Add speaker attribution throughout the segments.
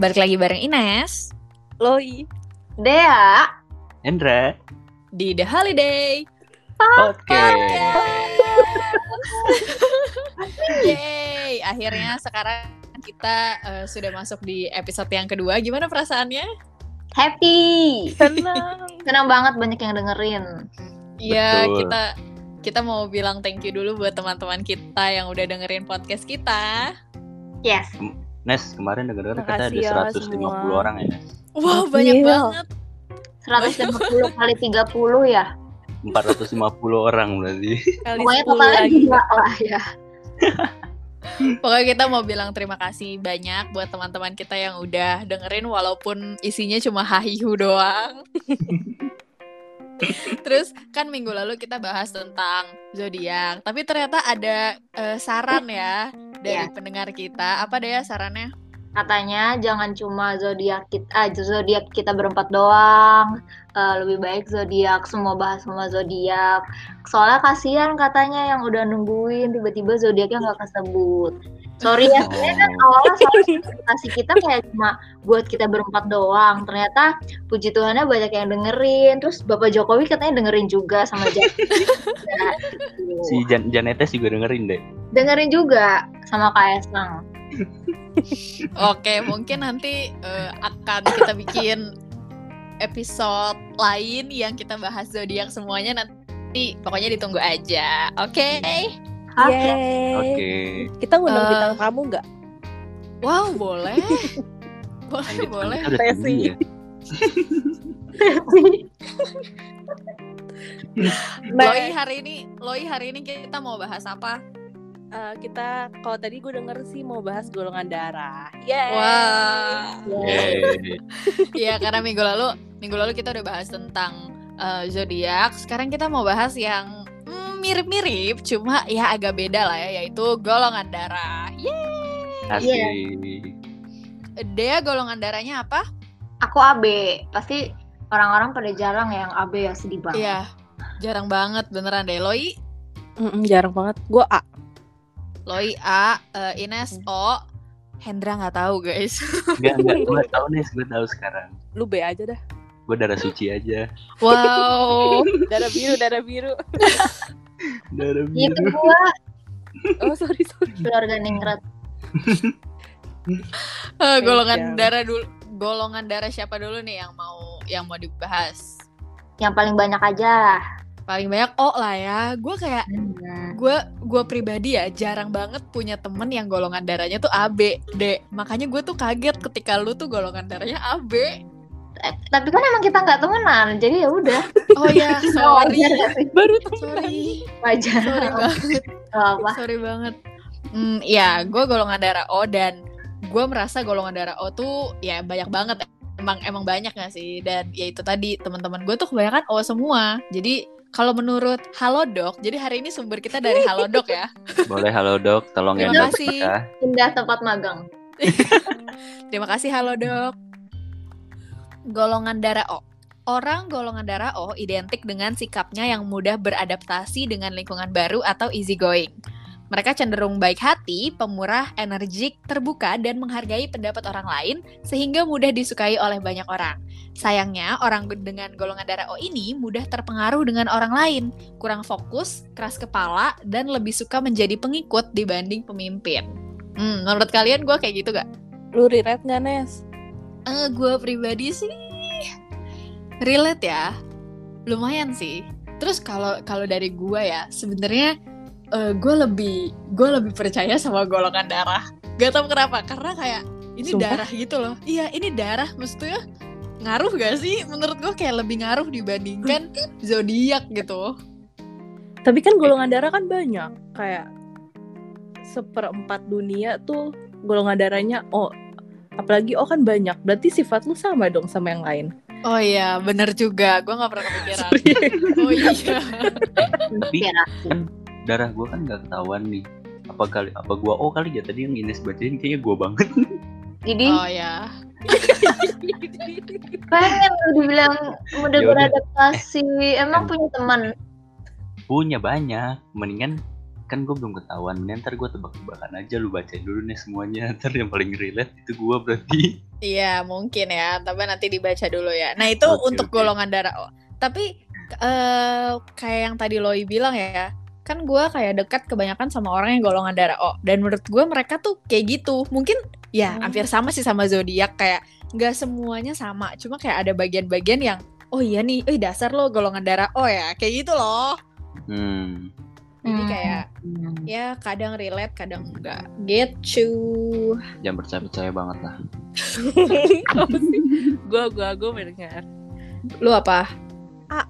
Speaker 1: Balik lagi bareng Ines
Speaker 2: Loi
Speaker 3: Dea
Speaker 4: Hendra
Speaker 1: di The Holiday
Speaker 4: Oke
Speaker 1: Yeay, akhirnya sekarang kita eh, sudah masuk di episode yang kedua. Gimana perasaannya?
Speaker 3: Happy
Speaker 2: Senang
Speaker 3: Senang banget banyak yang dengerin
Speaker 1: Iya,
Speaker 4: Betul.
Speaker 1: kita kita mau bilang thank you dulu buat teman-teman kita yang udah dengerin podcast kita.
Speaker 3: Yes
Speaker 4: Nes kemarin denger dengar kita
Speaker 2: Makasih ya
Speaker 4: ada 150
Speaker 2: semua.
Speaker 4: orang ya Nes
Speaker 1: Wow,
Speaker 2: Gokil.
Speaker 1: banyak banget.
Speaker 3: 150 kali 30 ya
Speaker 4: 450 orang berarti
Speaker 2: kali
Speaker 3: Pokoknya
Speaker 2: 10
Speaker 3: totalnya
Speaker 2: lagi.
Speaker 3: gila lah ya
Speaker 1: Pokoknya kita mau bilang terima kasih banyak buat teman-teman kita yang udah dengerin walaupun isinya cuma hahihu doang. Terus kan minggu lalu kita bahas tentang zodiak, tapi ternyata ada eh, saran ya dari pendengar kita. Apa deh ya sarannya?
Speaker 3: Katanya jangan cuma zodiak kita ah, zodiak kita berempat doang Eh, Lebih baik zodiak semua bahas semua zodiak Soalnya kasihan katanya yang udah nungguin Tiba-tiba zodiaknya nggak kesebut Sorry ya sebenarnya kan awalnya soalnya ekspektasi kita kayak cuma buat kita berempat doang ternyata puji Tuhannya banyak yang dengerin terus Bapak Jokowi katanya dengerin juga sama Jack Ya, gitu.
Speaker 4: Si Jan Janetes juga dengerin deh
Speaker 3: dengerin juga sama Kaisang
Speaker 1: Oke, mungkin nanti eh, akan kita bikin episode lain yang kita bahas zodiak semuanya nanti pokoknya ditunggu aja. Oke. Iya,
Speaker 3: oke
Speaker 2: Yeay.
Speaker 4: Oke
Speaker 2: Kita ngundang
Speaker 1: Eh.
Speaker 2: bintang tamu nggak?
Speaker 1: Wow, boleh. boleh,
Speaker 4: Lanjut,
Speaker 1: boleh.
Speaker 4: kita udah tinggi
Speaker 2: Tesi.
Speaker 4: ya.
Speaker 1: Loi hari ini, Loi hari ini kita mau bahas apa?
Speaker 2: Eh, kita kalau tadi gue denger sih mau bahas golongan darah. Yeay.
Speaker 1: Wah.
Speaker 4: Yeay.
Speaker 1: Iya, karena minggu lalu, minggu lalu kita udah bahas tentang eh, zodiak. Sekarang kita mau bahas yang mm, mirip-mirip, cuma ya agak beda lah ya, yaitu golongan darah. Yeay.
Speaker 4: Asik
Speaker 1: Dea golongan darahnya apa?
Speaker 3: aku AB pasti orang-orang pada jarang yang AB ya sedih banget
Speaker 1: Iya, jarang banget beneran deh. Loi,
Speaker 2: Mm-mm, jarang banget. Gue A.
Speaker 1: Loi A, eh, Ines O, Hendra nggak tahu guys.
Speaker 4: Enggak, enggak, gue tau Nes, gue tau sekarang
Speaker 2: Lu B aja dah.
Speaker 4: Gue darah suci aja
Speaker 1: Wow,
Speaker 2: Darah biru, darah biru.
Speaker 4: Darah
Speaker 3: gitu
Speaker 4: biru
Speaker 3: gua
Speaker 2: Oh sorry sorry.
Speaker 3: keluarga ningrat
Speaker 1: Eh, golongan
Speaker 2: Spesial.
Speaker 1: darah dulu, golongan darah siapa dulu nih yang mau yang mau dibahas?
Speaker 3: yang paling banyak aja
Speaker 1: Paling banyak O lah ya. Gue kayak
Speaker 3: Hmm.
Speaker 1: gue gue pribadi ya jarang banget punya temen yang golongan darahnya tuh AB, D. Makanya gue tuh kaget ketika lu tuh golongan darahnya AB.
Speaker 3: Eh, tapi kan emang kita nggak temenan jadi ya udah
Speaker 1: Oh ya, sorry,
Speaker 3: wajar nggak sih?
Speaker 2: Baru temenan.
Speaker 1: sorry.
Speaker 3: wajar
Speaker 1: Sorry banget,
Speaker 3: Nggak apa-apa
Speaker 1: sorry banget. Hmm, ya, gue golongan darah O dan gue merasa golongan darah O tuh ya banyak banget. Emang emang banyak gak sih? Dan ya itu tadi teman-teman gue tuh kebanyakan O semua. Jadi kalau menurut Halodoc, jadi hari ini sumber kita dari Halodoc ya.
Speaker 4: Boleh halo dok, tolong
Speaker 1: Terima
Speaker 4: endorse
Speaker 1: kasih.
Speaker 4: kita.
Speaker 3: pindah tempat magang
Speaker 1: Terima kasih Halodoc. Golongan darah O. Orang golongan darah O identik dengan sikapnya yang mudah beradaptasi dengan lingkungan baru atau easy going. Mereka cenderung baik hati, pemurah, energik, terbuka, dan menghargai pendapat orang lain sehingga mudah disukai oleh banyak orang. Sayangnya, orang dengan golongan darah O ini mudah terpengaruh dengan orang lain, kurang fokus, keras kepala, dan lebih suka menjadi pengikut dibanding pemimpin. Hmm, menurut kalian gue kayak gitu gak?
Speaker 2: Lu relate nggak Nes?
Speaker 1: Eh, gue pribadi sih relate ya, lumayan sih. Terus kalau kalau dari gue ya, sebenarnya eh, gue lebih gue lebih percaya sama golongan darah. Gak tau kenapa, karena kayak ini
Speaker 2: Sumpah?
Speaker 1: darah gitu loh. Iya, ini darah maksudnya ngaruh gak sih? Menurut gue kayak lebih ngaruh dibandingkan zodiak gitu.
Speaker 2: Tapi kan golongan darah kan banyak. Kayak seperempat dunia tuh golongan darahnya O. Apalagi O kan banyak. Berarti sifat lu sama dong sama yang lain.
Speaker 1: Oh iya, bener juga. Gue nggak pernah kepikiran. Oh iya.
Speaker 4: Tapi
Speaker 3: inspirasi
Speaker 4: darah gue kan gak ketahuan nih apa kali apa gua oh kali ya tadi yang Ines bacain kayaknya gua banget
Speaker 3: jadi
Speaker 1: Oh iya.
Speaker 3: pengen lu dibilang mudah
Speaker 4: Yaudah.
Speaker 3: beradaptasi emang punya teman
Speaker 4: punya banyak mendingan kan gue belum ketahuan mending ntar gue tebak-tebakan aja lu bacain dulu nih semuanya ntar yang paling relate itu gue berarti
Speaker 1: Iya mungkin ya, tapi nanti dibaca dulu ya. Nah itu
Speaker 4: Oke,
Speaker 1: untuk
Speaker 4: oke.
Speaker 1: golongan darah O. Tapi eh kayak yang tadi Loi bilang ya, kan gue kayak dekat kebanyakan sama orang yang golongan darah O. Dan menurut gue mereka tuh kayak gitu. Mungkin ya
Speaker 2: Hmm.
Speaker 1: hampir sama sih sama zodiak kayak nggak semuanya sama. Cuma kayak ada bagian-bagian yang oh iya nih, eh dasar lo golongan darah O ya, kayak gitu loh.
Speaker 4: hmm
Speaker 1: Jadi kayak ya kadang relate, kadang enggak. Gitu.
Speaker 4: jangan percaya-percaya banget lah
Speaker 2: Apa sih? Gua gua gua mendengar.
Speaker 1: Lu apa? A.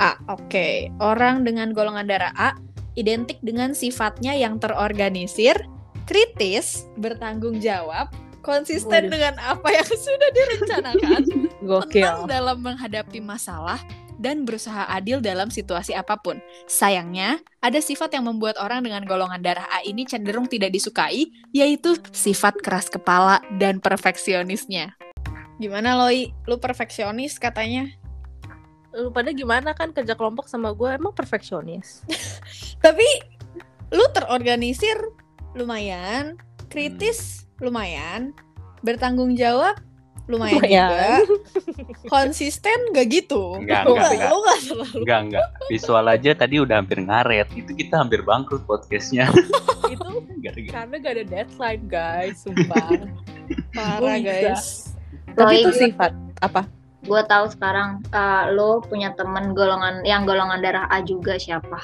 Speaker 1: A, oke. Orang dengan golongan darah A identik dengan sifatnya yang terorganisir, kritis, bertanggung jawab, konsisten
Speaker 2: Waduh.
Speaker 1: dengan apa yang sudah direncanakan, tenang
Speaker 2: Gokil.
Speaker 1: dalam menghadapi masalah, dan berusaha adil dalam situasi apapun. Sayangnya, ada sifat yang membuat orang dengan golongan darah A ini cenderung tidak disukai, yaitu sifat keras kepala dan perfeksionisnya. Gimana Loi? Lu perfeksionis katanya?
Speaker 2: Lu pada gimana kan kerja kelompok sama gua emang perfeksionis.
Speaker 1: Tapi lu terorganisir lumayan, kritis lumayan, bertanggung jawab lumayan,
Speaker 2: Lumayan.
Speaker 1: juga, konsisten gak gitu.
Speaker 4: Enggak,
Speaker 1: Lu
Speaker 4: enggak,
Speaker 1: nggak-
Speaker 4: enggak.
Speaker 1: lu nggak terlalu.
Speaker 4: enggak enggak visual aja tadi udah hampir ngaret itu kita hampir bangkrut podcastnya
Speaker 2: Itu
Speaker 4: Gara-gara-
Speaker 2: karena gak ada deadline guys, sumpah.
Speaker 1: Parah
Speaker 2: bisa.
Speaker 1: guys.
Speaker 2: Tapi itu
Speaker 3: Loi.
Speaker 2: sifat apa?
Speaker 3: gue tahu sekarang eh, lo punya temen golongan yang golongan darah A juga siapa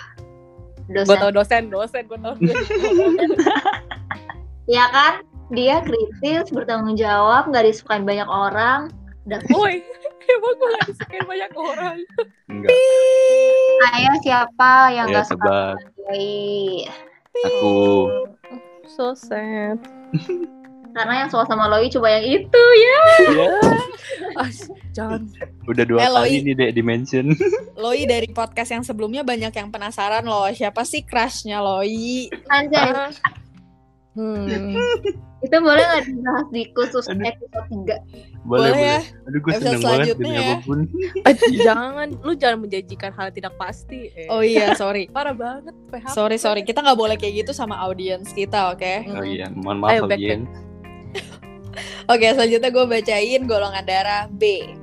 Speaker 2: Gue
Speaker 3: dosen
Speaker 2: tau dosen, dosen, gue tau dosen.
Speaker 3: ya kan dia kritis bertanggung jawab nggak disukain banyak orang dan
Speaker 2: Woi, emang gue gak disukain banyak orang.
Speaker 4: enggak
Speaker 3: saya siapa yang
Speaker 4: ya
Speaker 3: gak suka
Speaker 4: tebak
Speaker 3: Loi
Speaker 4: aku
Speaker 2: So sad.
Speaker 3: karena yang suka sama Loi cuma yang itu ya
Speaker 4: ya
Speaker 2: Jangan.
Speaker 4: udah dua
Speaker 1: Eh, Loi.
Speaker 4: kali nih dek dimension
Speaker 1: Loi dari podcast yang sebelumnya banyak yang penasaran loh, siapa sih crushnya Loi?
Speaker 3: anjay
Speaker 2: Hmm.
Speaker 3: itu boleh nggak dibahas di khusus
Speaker 4: Aduh.
Speaker 3: episode 3
Speaker 1: Boleh,
Speaker 4: boleh boleh
Speaker 1: ya?
Speaker 4: aduh gue
Speaker 1: Episode
Speaker 4: seneng banget demi
Speaker 1: selanjutnya ya.
Speaker 4: apapun
Speaker 2: Eh, jangan, lu jangan menjanjikan hal tidak pasti. Eh.
Speaker 1: Oh iya, sorry.
Speaker 2: parah banget. PHP.
Speaker 1: Sorry, sorry. Kita nggak boleh kayak gitu sama audiens kita, oke?
Speaker 4: oh iya mohon maaf
Speaker 2: Ayo, back,
Speaker 4: Fabian
Speaker 1: Oke, selanjutnya gue bacain golongan darah B.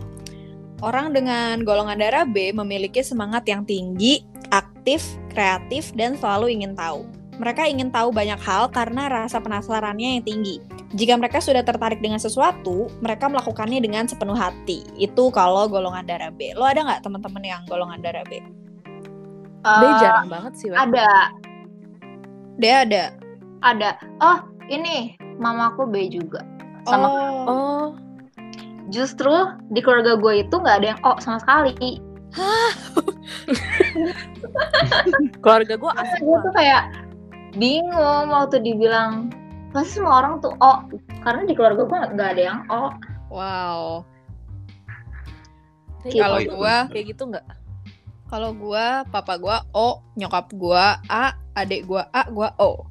Speaker 1: Orang dengan golongan darah B memiliki semangat yang tinggi, aktif, kreatif, dan selalu ingin tahu. Mereka ingin tahu banyak hal karena rasa penasarannya yang tinggi. Jika mereka sudah tertarik dengan sesuatu, mereka melakukannya dengan sepenuh hati. Itu kalau golongan darah B. Lo ada nggak teman-teman yang golongan darah B?
Speaker 2: Dia
Speaker 3: Eh,
Speaker 2: jarang banget sih. Wak.
Speaker 3: ada
Speaker 1: Dia ada.
Speaker 3: ada oh ini mamaku B juga sama
Speaker 1: oh.
Speaker 2: Oh,
Speaker 3: justru di keluarga gue itu nggak ada yang oh sama sekali
Speaker 2: keluarga gue asik
Speaker 3: gue
Speaker 2: banget.
Speaker 3: tuh kayak bingung waktu dibilang pasti semua orang tuh oh karena di keluarga gue nggak ada yang oh
Speaker 1: wow.
Speaker 2: Kayak
Speaker 1: Kalau
Speaker 4: gitu.
Speaker 1: gue
Speaker 2: kayak gitu nggak?
Speaker 1: Kalau gua, papa gua O, nyokap gua A, adik gua A, gua O.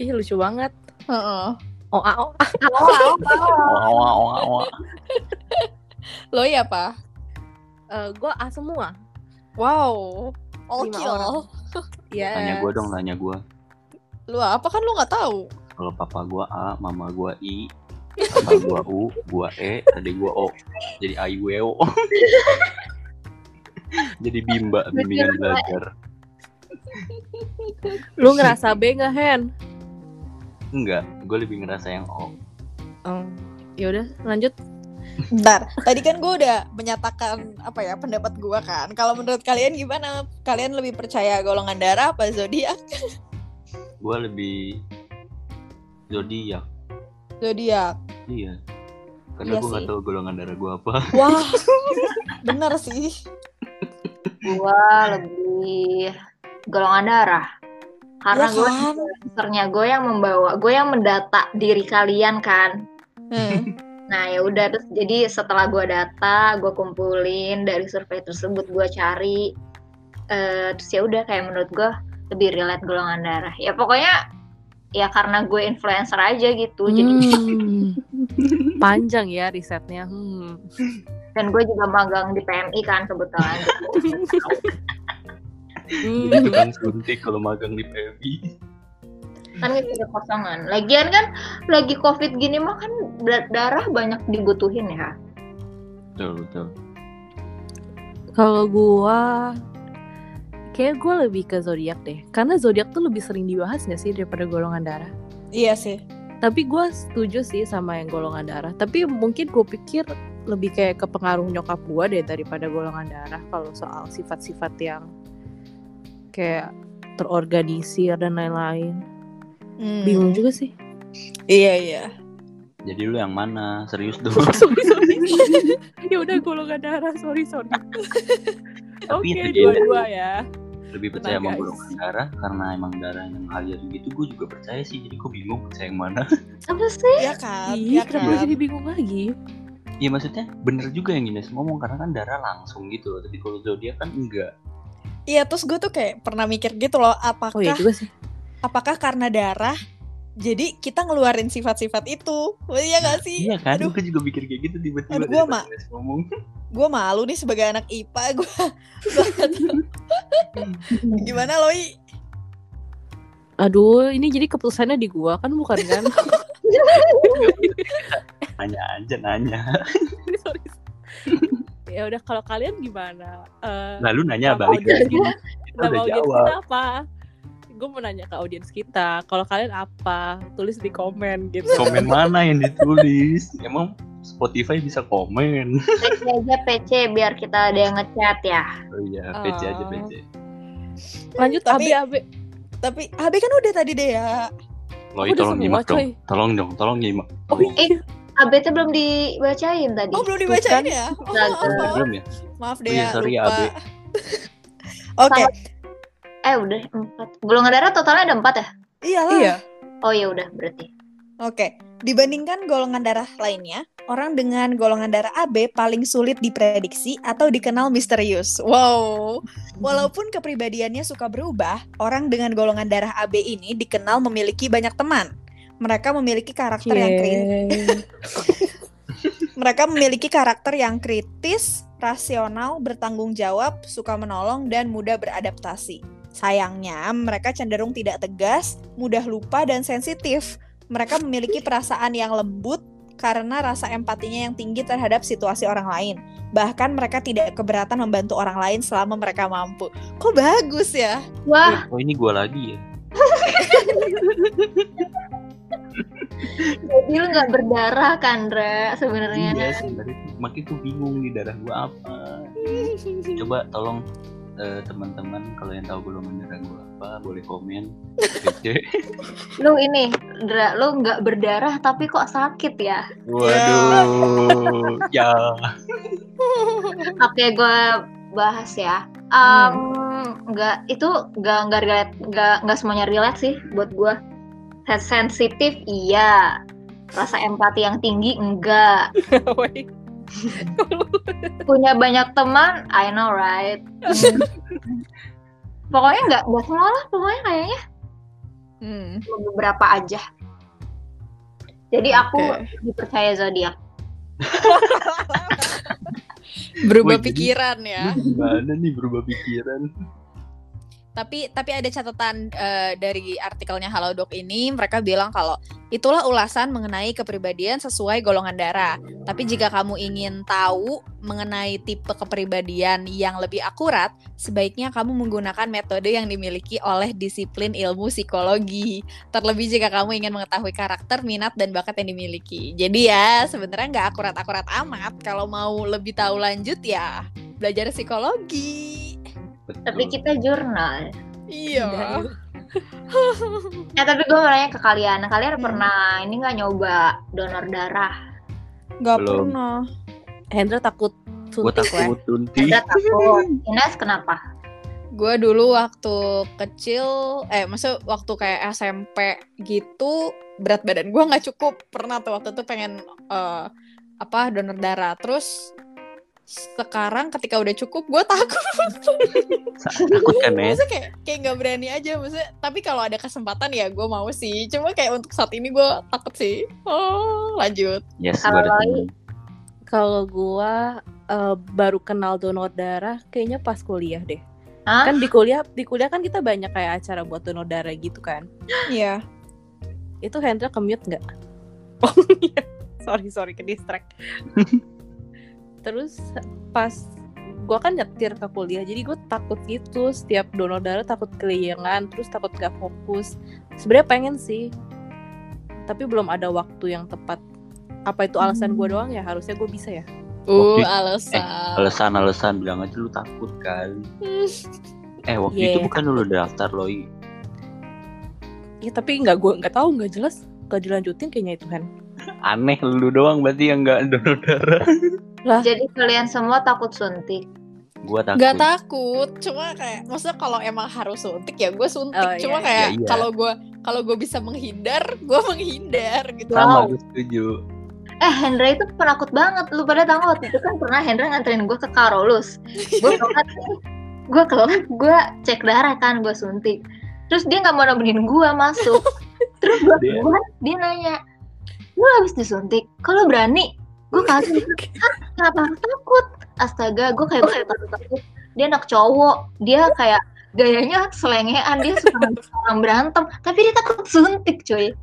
Speaker 2: Ih lucu banget.
Speaker 1: Heeh.
Speaker 2: Oh, ah, oh, ah.
Speaker 3: oh, oh, oh.
Speaker 4: Wah, wah, wah, wah.
Speaker 1: Lo ya apa?
Speaker 2: gue ah semua.
Speaker 1: Wow. Oke.
Speaker 2: Lima orang. Iya.
Speaker 1: Eh.
Speaker 4: Tanya gue dong, tanya gue.
Speaker 1: Lu apa kan lu nggak tahu?
Speaker 4: Kalau papa gue A, mama gue I, papa gue U, gue E, adik gue O. Jadi Aiweo. Jadi bimba
Speaker 1: E.
Speaker 4: bimbingan belajar.
Speaker 2: Lu ngerasa B nggak Hen?
Speaker 4: Enggak, gue lebih ngerasa yang O.
Speaker 2: Oh, yaudah lanjut.
Speaker 1: Bentar. Tadi kan gua udah menyatakan apa ya pendapat gua kan. Kalau menurut kalian gimana? Kalian lebih percaya golongan darah apa zodiak?
Speaker 4: Gue lebih zodiak.
Speaker 1: Zodiak.
Speaker 4: Iya. Karena
Speaker 1: Iya
Speaker 4: gue gak
Speaker 1: sih.
Speaker 4: tahu golongan darah gue apa.
Speaker 1: Wah. Bener sih.
Speaker 3: gue lebih golongan darah karena
Speaker 1: Ya
Speaker 3: gue
Speaker 1: kan?
Speaker 3: sebenarnya gue yang membawa gue yang mendata diri kalian kan
Speaker 1: Hmm.
Speaker 3: nah ya udah terus jadi setelah gue data gue kumpulin dari survei tersebut gue cari Eh, terus ya udah kayak menurut gue lebih relate golongan darah ya pokoknya ya karena gue influencer aja gitu jadi
Speaker 2: Hmm. Panjang ya risetnya. Hmm.
Speaker 3: dan gue juga magang di PMI kan kebetulan
Speaker 2: Hmm.
Speaker 4: Jadi tukang suntik kalau magang di PMI.
Speaker 3: kan itu ada kosongan. Lagian kan lagi covid gini mah kan da- darah banyak dibutuhin ya.
Speaker 4: Betul, betul.
Speaker 2: Kalau gua kayak gua lebih ke zodiak deh. Karena zodiak tuh lebih sering dibahas gak sih daripada golongan darah.
Speaker 5: Iya sih.
Speaker 2: Tapi gua setuju sih sama yang golongan darah. Tapi mungkin gue pikir lebih kayak ke pengaruh nyokap gua deh daripada golongan darah kalau soal sifat-sifat yang kayak terorganisir dan lain-lain.
Speaker 5: Hmm.
Speaker 2: Bingung juga sih.
Speaker 5: Iya iya.
Speaker 4: Jadi lu yang mana? Serius tuh.
Speaker 2: sorry, sorry. ya udah golongan darah, sorry, sorry.
Speaker 4: Tapi
Speaker 2: Oke,
Speaker 4: itu dia.
Speaker 2: dua-dua ya.
Speaker 4: Lebih percaya
Speaker 2: Tenang,
Speaker 4: sama
Speaker 2: guys.
Speaker 4: golongan darah karena emang darah yang ngalir gitu gue juga percaya sih. Jadi gue bingung percaya yang mana.
Speaker 3: Apa sih?
Speaker 5: Iya kan?
Speaker 2: Iya,
Speaker 5: Iya
Speaker 2: kenapa
Speaker 5: kan?
Speaker 2: jadi bingung lagi?
Speaker 4: Iya maksudnya bener juga yang Ines ngomong karena kan darah langsung gitu loh. Tapi kalau zodiak kan enggak.
Speaker 5: Iya terus gue tuh kayak pernah mikir gitu loh apakah
Speaker 2: Oh iya juga sih.
Speaker 5: apakah karena darah jadi kita ngeluarin sifat-sifat itu Wah, iya gak sih
Speaker 4: Iya kan?
Speaker 5: aduh
Speaker 4: Gue juga mikir kayak gitu tiba-tiba
Speaker 5: Aduh, gua
Speaker 4: dari
Speaker 5: mah-
Speaker 4: Ines ngomong.
Speaker 5: gue malu nih sebagai anak ipa gue gimana loi
Speaker 2: Aduh, ini jadi keputusannya di gua kan bukan kan?
Speaker 4: Nanya aja nanya.
Speaker 2: Sorry, sorry. ya udah kalau kalian gimana? Eh,
Speaker 4: Lalu nanya
Speaker 2: Sama
Speaker 4: balik lagi.
Speaker 2: audiens.
Speaker 4: Kita
Speaker 2: Nama
Speaker 4: udah
Speaker 2: audiens
Speaker 4: jawab.
Speaker 2: kita apa? Gue mau nanya ke audiens kita, kalau kalian apa? Tulis di komen gitu.
Speaker 4: Komen mana yang ditulis? Emang Spotify bisa komen.
Speaker 3: PC aja PC biar kita ada yang ngechat ya.
Speaker 4: Oh iya, PC aja
Speaker 2: Ah.
Speaker 4: PC.
Speaker 2: Lanjut
Speaker 5: Tapi-
Speaker 2: Abi Abi.
Speaker 5: tapi Abe kan udah tadi deh ya
Speaker 4: Loi
Speaker 2: Udah
Speaker 4: tolong
Speaker 2: semua, coy.
Speaker 4: nyimak dong. Tolong dong, tolong nyimak.
Speaker 2: Oh
Speaker 5: Eh,
Speaker 2: iya.
Speaker 3: ABT belum dibacain tadi.
Speaker 5: oh belum dibacain
Speaker 2: Bukan.
Speaker 5: ya oh,
Speaker 3: Gagal.
Speaker 5: maaf, maaf.
Speaker 4: kan Belum ya?
Speaker 5: maaf
Speaker 4: Oh
Speaker 5: deh
Speaker 4: iya,
Speaker 5: ya
Speaker 4: sorry ya,
Speaker 5: lupa.
Speaker 4: Abe.
Speaker 5: oke
Speaker 3: Eh udah empat. Golongan darah totalnya ada empat ya?
Speaker 5: iyalah
Speaker 2: Iya.
Speaker 3: Oh ya udah berarti.
Speaker 5: Oke, dibandingkan golongan darah lainnya, orang dengan golongan darah AB paling sulit diprediksi atau dikenal misterius. Wow. Walaupun kepribadiannya suka berubah, orang dengan golongan darah AB ini dikenal memiliki banyak teman. Mereka memiliki karakter
Speaker 2: Iya.
Speaker 5: yang kritis. Mereka memiliki karakter yang kritis, rasional, bertanggung jawab, suka menolong, dan mudah beradaptasi. Sayangnya, mereka cenderung tidak tegas, mudah lupa, dan sensitif. Mereka memiliki perasaan yang lembut karena rasa empatinya yang tinggi terhadap situasi orang lain. Bahkan mereka tidak keberatan membantu orang lain selama mereka mampu. Kok bagus ya?
Speaker 3: Wah,
Speaker 4: Oh ini gue lagi ya.
Speaker 3: jadi lu nggak berdarah Kandra sebenarnya.
Speaker 4: Iya sih, dari itu. makanya tuh bingung di darah gue apa. Coba tolong eh, teman-teman kalau yang tahu golongan darah gue apa boleh komen. PC.
Speaker 3: Lu ini, Dra, lu nggak berdarah tapi kok sakit ya?
Speaker 4: Waduh, ya.
Speaker 3: Oke, gue bahas ya. Um, nggak itu nggak nggak relate- nggak nggak semuanya relate sih buat gue. Sensitif iya, rasa empati yang tinggi enggak,
Speaker 4: Oh,
Speaker 2: Woi.
Speaker 4: iya.
Speaker 3: punya banyak teman, I know right. Hmm. pokoknya nggak nggak semua lah, pokoknya kayaknya
Speaker 1: Hmm.
Speaker 3: beberapa aja. Jadi aku
Speaker 1: Oke.
Speaker 3: dipercaya zodiak.
Speaker 1: Berubah
Speaker 4: Wih, jadi-
Speaker 1: pikiran ya.
Speaker 4: Gimana nih berubah pikiran?
Speaker 1: Tapi tapi ada catatan eh, dari artikelnya Halodoc ini mereka bilang kalau itulah ulasan mengenai kepribadian sesuai golongan darah. Tapi jika kamu ingin tahu mengenai tipe kepribadian yang lebih akurat, sebaiknya kamu menggunakan metode yang dimiliki oleh disiplin ilmu psikologi. Terlebih jika kamu ingin mengetahui karakter, minat dan bakat yang dimiliki. Jadi ya sebenarnya nggak akurat-akurat amat kalau mau lebih tahu lanjut ya belajar psikologi.
Speaker 3: Tapi
Speaker 4: Hmm.
Speaker 3: kita jurnal.
Speaker 1: Iya.
Speaker 3: Ya tapi gue mau nanya ke kalian, kalian
Speaker 5: Hmm.
Speaker 3: pernah ini nggak nyoba donor darah?
Speaker 5: Gak
Speaker 4: Belum.
Speaker 5: pernah.
Speaker 2: Hendra takut
Speaker 4: gue
Speaker 2: suntik
Speaker 3: ya.
Speaker 2: lah. ya.
Speaker 4: takut tunti.
Speaker 3: Ada takut. Ines kenapa?
Speaker 1: Gue Hmm. dulu waktu kecil, eh maksudnya waktu kayak SMP gitu berat badan gue nggak cukup. Pernah tuh waktu itu pengen eh, apa donor darah. Terus sekarang ketika udah cukup gue takut
Speaker 4: Takut kan, Nes?
Speaker 1: maksudnya kayak kayak nggak berani aja maksudnya tapi kalau ada kesempatan ya gue mau sih cuma kayak untuk saat ini gue takut sih oh lanjut
Speaker 4: Yes, gua
Speaker 3: Kalau
Speaker 4: ada
Speaker 3: Loi?
Speaker 4: temen.
Speaker 2: Kalau gua eh, baru kenal donor darah kayaknya pas kuliah deh.
Speaker 3: Hah?
Speaker 2: Kan di kuliah, di kuliah kan kita banyak kayak acara buat donor darah gitu kan.
Speaker 5: Iya.
Speaker 2: Itu Hendra ke mute nggak? Oh iya. Sorry, sorry ke distract. Terus pas gua kan nyetir ke kuliah, jadi gue takut gitu setiap donor darah takut keliangan, terus takut gak fokus. Sebenarnya pengen sih, tapi belum ada waktu yang tepat. Apa itu alasan gua doang ya? Harusnya gue bisa ya.
Speaker 1: Uh,
Speaker 4: Oke.
Speaker 3: eh.
Speaker 1: alasan.
Speaker 4: Eh, Alasan-alasan bilang aja lu takut kan. Eh waktu
Speaker 2: Iya,
Speaker 4: itu bukan lu daftar loi.
Speaker 2: Ya tapi nggak gua nggak tahu nggak jelas nggak dilanjutin kayaknya itu kan.
Speaker 4: Aneh lu doang berarti yang nggak donor darah.
Speaker 3: Jadi kalian semua takut suntik.
Speaker 4: Gua takut.
Speaker 1: Gak takut, cuma kayak maksudnya kalau emang harus suntik ya gue suntik.
Speaker 2: Oh, iya,
Speaker 1: cuma
Speaker 2: iya.
Speaker 1: kayak
Speaker 4: Ya, iya.
Speaker 1: kalau gue kalau gue bisa menghindar, gue menghindar gitu.
Speaker 4: Sama
Speaker 3: Wow.
Speaker 4: gue setuju.
Speaker 3: Eh Hendra itu penakut banget. Lu pada tahu waktu itu kan pernah Hendra nganterin gue ke Karolus. Gue kelar, gue kelar, gue cek darah kan, gue suntik. Terus dia nggak mau nemenin gue masuk. Terus gue
Speaker 4: Dia-
Speaker 3: keluar, dia nanya, lu habis disuntik, kalau berani? Gue kaget, "Hah, kenapa harus takut? Astaga, gue kayak gue takut. Dia anak cowok, dia kayak gayanya selengean, dia suka ngajak orang berantem, tapi dia takut suntik cuy.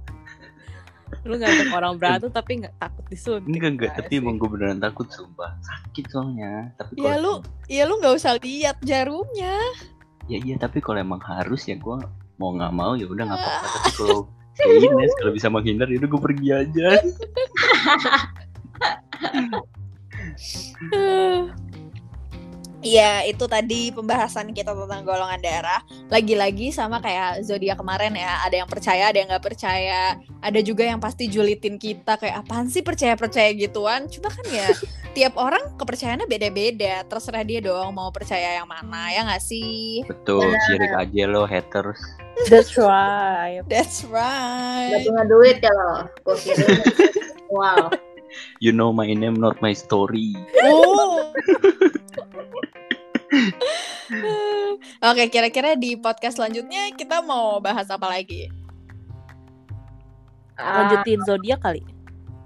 Speaker 2: Lu ngajak orang berantem tapi nggak takut disuntik.
Speaker 4: Ini kan
Speaker 1: Iya
Speaker 4: gak,
Speaker 2: Nah,
Speaker 4: tapi
Speaker 2: sih.
Speaker 4: emang gue beneran takut sumpah Sakit soalnya tapi
Speaker 1: Ya, lu-
Speaker 4: kalau-
Speaker 1: Iya lu nggak usah lihat jarumnya.
Speaker 4: Ya iya tapi kalau emang harus ya gue mau gak mau ya udah gak apa-apa Tapi kalau kayak Ines kalau bisa menghindar ya udah gue pergi aja
Speaker 1: Iya.
Speaker 5: Iya, itu tadi pembahasan kita tentang golongan darah. Lagi-lagi sama kayak zodiak kemarin ya, ada yang percaya, ada yang nggak percaya. Ada juga yang pasti julitin kita kayak apaan sih percaya-percaya gituan. Cuma kan ya tiap orang kepercayaannya beda-beda. Terserah dia dong mau percaya yang mana ya nggak sih?
Speaker 4: Betul sirik
Speaker 1: Iya.
Speaker 4: aja lo haters
Speaker 2: That's right.
Speaker 5: That's
Speaker 3: Gak
Speaker 1: Eh.
Speaker 5: right.
Speaker 3: punya duit ya lo, gue kira. Wow.
Speaker 4: You know my name not my story
Speaker 5: Oh. Oke, kira-kira di podcast selanjutnya kita mau bahas apa lagi?
Speaker 3: Ah,
Speaker 2: Lanjutin zodiak kali.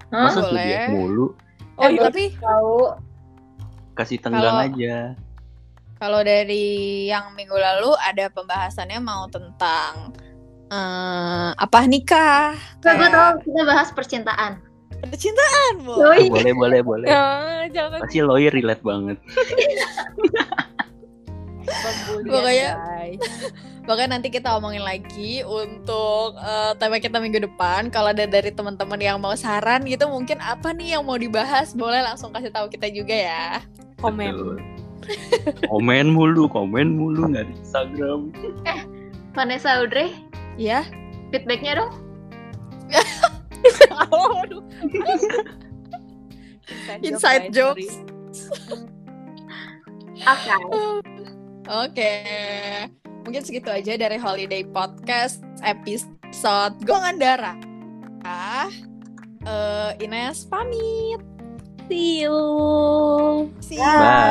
Speaker 3: Hah?
Speaker 4: Masa
Speaker 1: Ah, Boleh.
Speaker 4: zodiak mulu
Speaker 3: Oh,
Speaker 5: Eh,
Speaker 3: iya.
Speaker 5: tapi
Speaker 3: tahu
Speaker 4: Kasih tenggang
Speaker 1: Kalau-
Speaker 4: aja
Speaker 1: Kalau dari yang minggu lalu ada pembahasannya mau tentang eh, apa nikah?
Speaker 3: Nah, gue
Speaker 1: Kayak
Speaker 3: tahu kita bahas percintaan.
Speaker 5: percintaan, Bu.
Speaker 1: Oh,
Speaker 4: Ah,
Speaker 1: iya.
Speaker 4: Boleh boleh boleh
Speaker 2: Ah, jangan
Speaker 4: Pasti lawyer relate banget
Speaker 2: pembulian.
Speaker 1: Pokoknya-
Speaker 2: guys.
Speaker 1: Bahkan nanti kita omongin lagi untuk eh, tema kita minggu depan. Kalau ada dari teman-teman yang mau saran gitu, mungkin apa nih yang mau dibahas, boleh langsung kasih tahu kita juga ya.
Speaker 2: komen.
Speaker 4: Betul. Komen mulu Komen mulu Gak di Instagram
Speaker 3: Vanessa Audrey,
Speaker 1: Ya.
Speaker 3: feedbacknya dong.
Speaker 1: Aduh, Inside
Speaker 2: joke,
Speaker 1: jokes.
Speaker 2: guys, sorry.
Speaker 3: Oke.
Speaker 1: Oke. Mungkin segitu aja dari Holiday Podcast episode Gongan Darah. Ah, eh, Ines pamit.
Speaker 2: See you.
Speaker 5: See
Speaker 4: Bye